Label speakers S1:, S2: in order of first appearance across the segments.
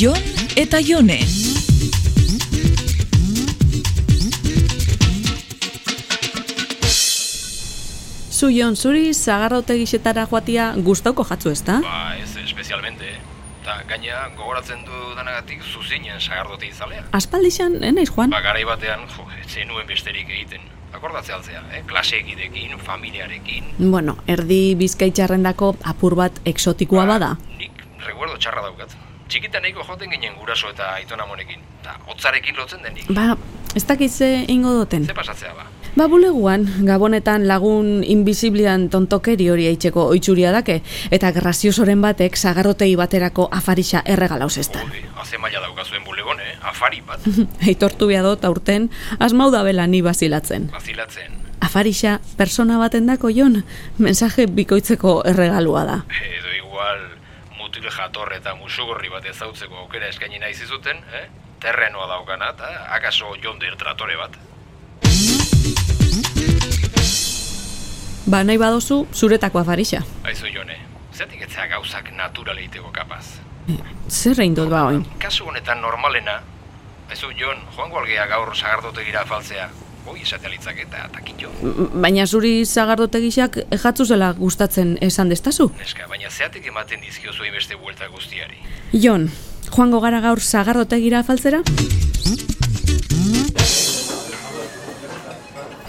S1: Jon eta Jone.
S2: Zu Jon, zuri zagarrotegisetara joatia gustauko jatzu ezta?
S3: Ba, ez espezialmente. Ta gaina gogoratzen du danagatik zuzinen sagardote izalea.
S2: Aspaldixan, eh, naiz joan?
S3: Ba, garai batean, jo, etxe nuen besterik egiten. Akordatzea altzea, eh? Klaseekidekin, familiarekin.
S2: Bueno, erdi bizkaitxarrendako apur bat eksotikoa bada.
S3: Ba, Nik reguerdo txarra daukat. Txikitan nahiko joten ginen guraso eta aitona monekin. Ta, hotzarekin lotzen denik.
S2: Ba, ez dakit ze ingo duten.
S3: Ze pasatzea ba?
S2: Ba, buleguan, gabonetan lagun inbiziblian tontokeri hori eitzeko oitzuria dake, eta graziosoren batek zagarrotei baterako afarixa erregala ausestan.
S3: Ui, haze maila daukazuen bulegon, eh? Afari bat.
S2: Heitortu behar dut aurten, asmau da bela ni bazilatzen.
S3: Bazilatzen.
S2: Afarixa, persona baten dako jon, mensaje bikoitzeko erregalua da.
S3: Edo igual mutil jator eta musugorri bat ezautzeko aukera eskaini nahi zizuten, eh? Terrenoa daukana, eta akaso jondir tratore bat.
S2: Ba, nahi badozu, zuretako afarixa.
S3: Aizu jone, zetik etzea gauzak naturaleiteko kapaz.
S2: Zer egin dut ba oin?
S3: Kasu honetan normalena, aizu jon, joango algea gaur sagardotegira faltzea. Hoi esatea litzak eta takillo.
S2: Baina zuri zagardotegisak jatzu zela gustatzen esan destazu?
S3: Neska, baina zeatik ematen dizkiozu beste buelta guztiari.
S2: Jon, joango gara gaur zagardotegira afaltzera?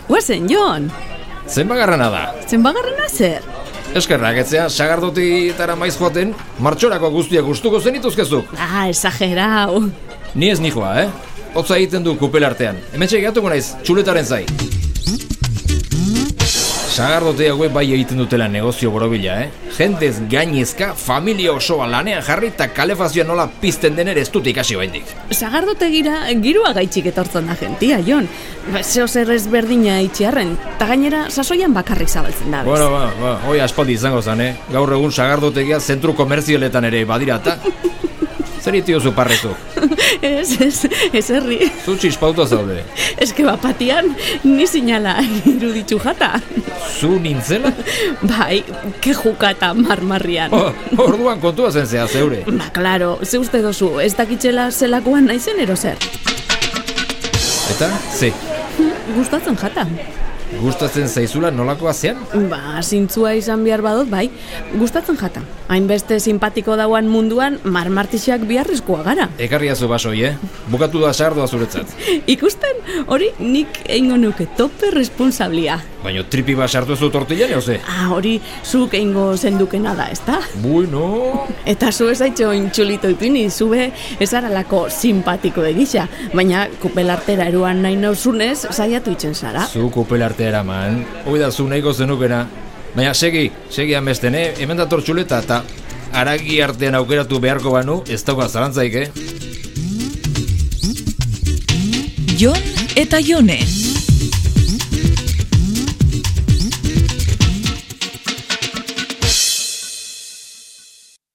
S2: Guazen, Jon!
S3: Zen bagarrana da,
S2: Zenbagarrena zer?
S3: eskerrak etzea sagardotietara maiz joaten, martxorako guztiak gustuko zenituzkezuk.
S2: Ah, esagerau.
S3: Ni ez nijoa, eh? Hotza egiten du kupel artean. Hemetxe gehatuko naiz, txuletaren zai. Sagardote hauek bai egiten dutela negozio borobila, eh? Jendez gainezka, familia osoa lanean jarri eta kalefazioa nola pizten den ere ez dut ikasi baindik.
S2: Zagardotegira girua gaitxik etortzen da gentia, Jon. Ba, Zeo zer ezberdina itxiarren, eta gainera sasoian bakarrik zabaltzen da. bez.
S3: Bueno, ba, ba, hoi aspaldi izango zan, eh? Gaur egun sagardotegia zentru komerzialetan ere badira eta... Zer itiozu parrezu?
S2: ez, ez, ez herri.
S3: Zu txispauta zaude.
S2: Ez que bapatian, ni sinala iruditxu jata.
S3: Zu nintzela?
S2: Bai, kejuka eta marmarrian.
S3: Oh, orduan kontua zen zea zeure.
S2: Ba, klaro, ze uste dozu, ez dakitxela zelakoan naizen ero zer.
S3: Eta, ze,
S2: Gustatzen jata.
S3: gustatzen zaizula nolakoa zean?
S2: Ba, zintzua izan behar badot, bai, gustatzen jata. Hainbeste simpatiko dauan munduan, marmartixak biharrizkoa gara.
S3: Ekarriazu basoi, eh? Bukatu da sardoa zuretzat.
S2: Ikusten, hori nik eingo nuke tope responsablia.
S3: Baina tripi bat sartu zu tortilla neo ze?
S2: Ah, hori zuk eingo zendukena da, ezta?
S3: Bueno...
S2: Eta zu ez aitxo intxulito ipini, zube ezaralako simpatiko egisa, baina kupelartera eruan nahi nauzunez, saiatu itzen zara.
S3: Zu kupelartea eraman. Hoi da zu nahiko zenukena. Baina segi, segi amesten, eh? Hemen dator txuleta eta aragi artean aukeratu beharko banu, ez dauka zarantzaik, eh?
S1: Jon eta Jone.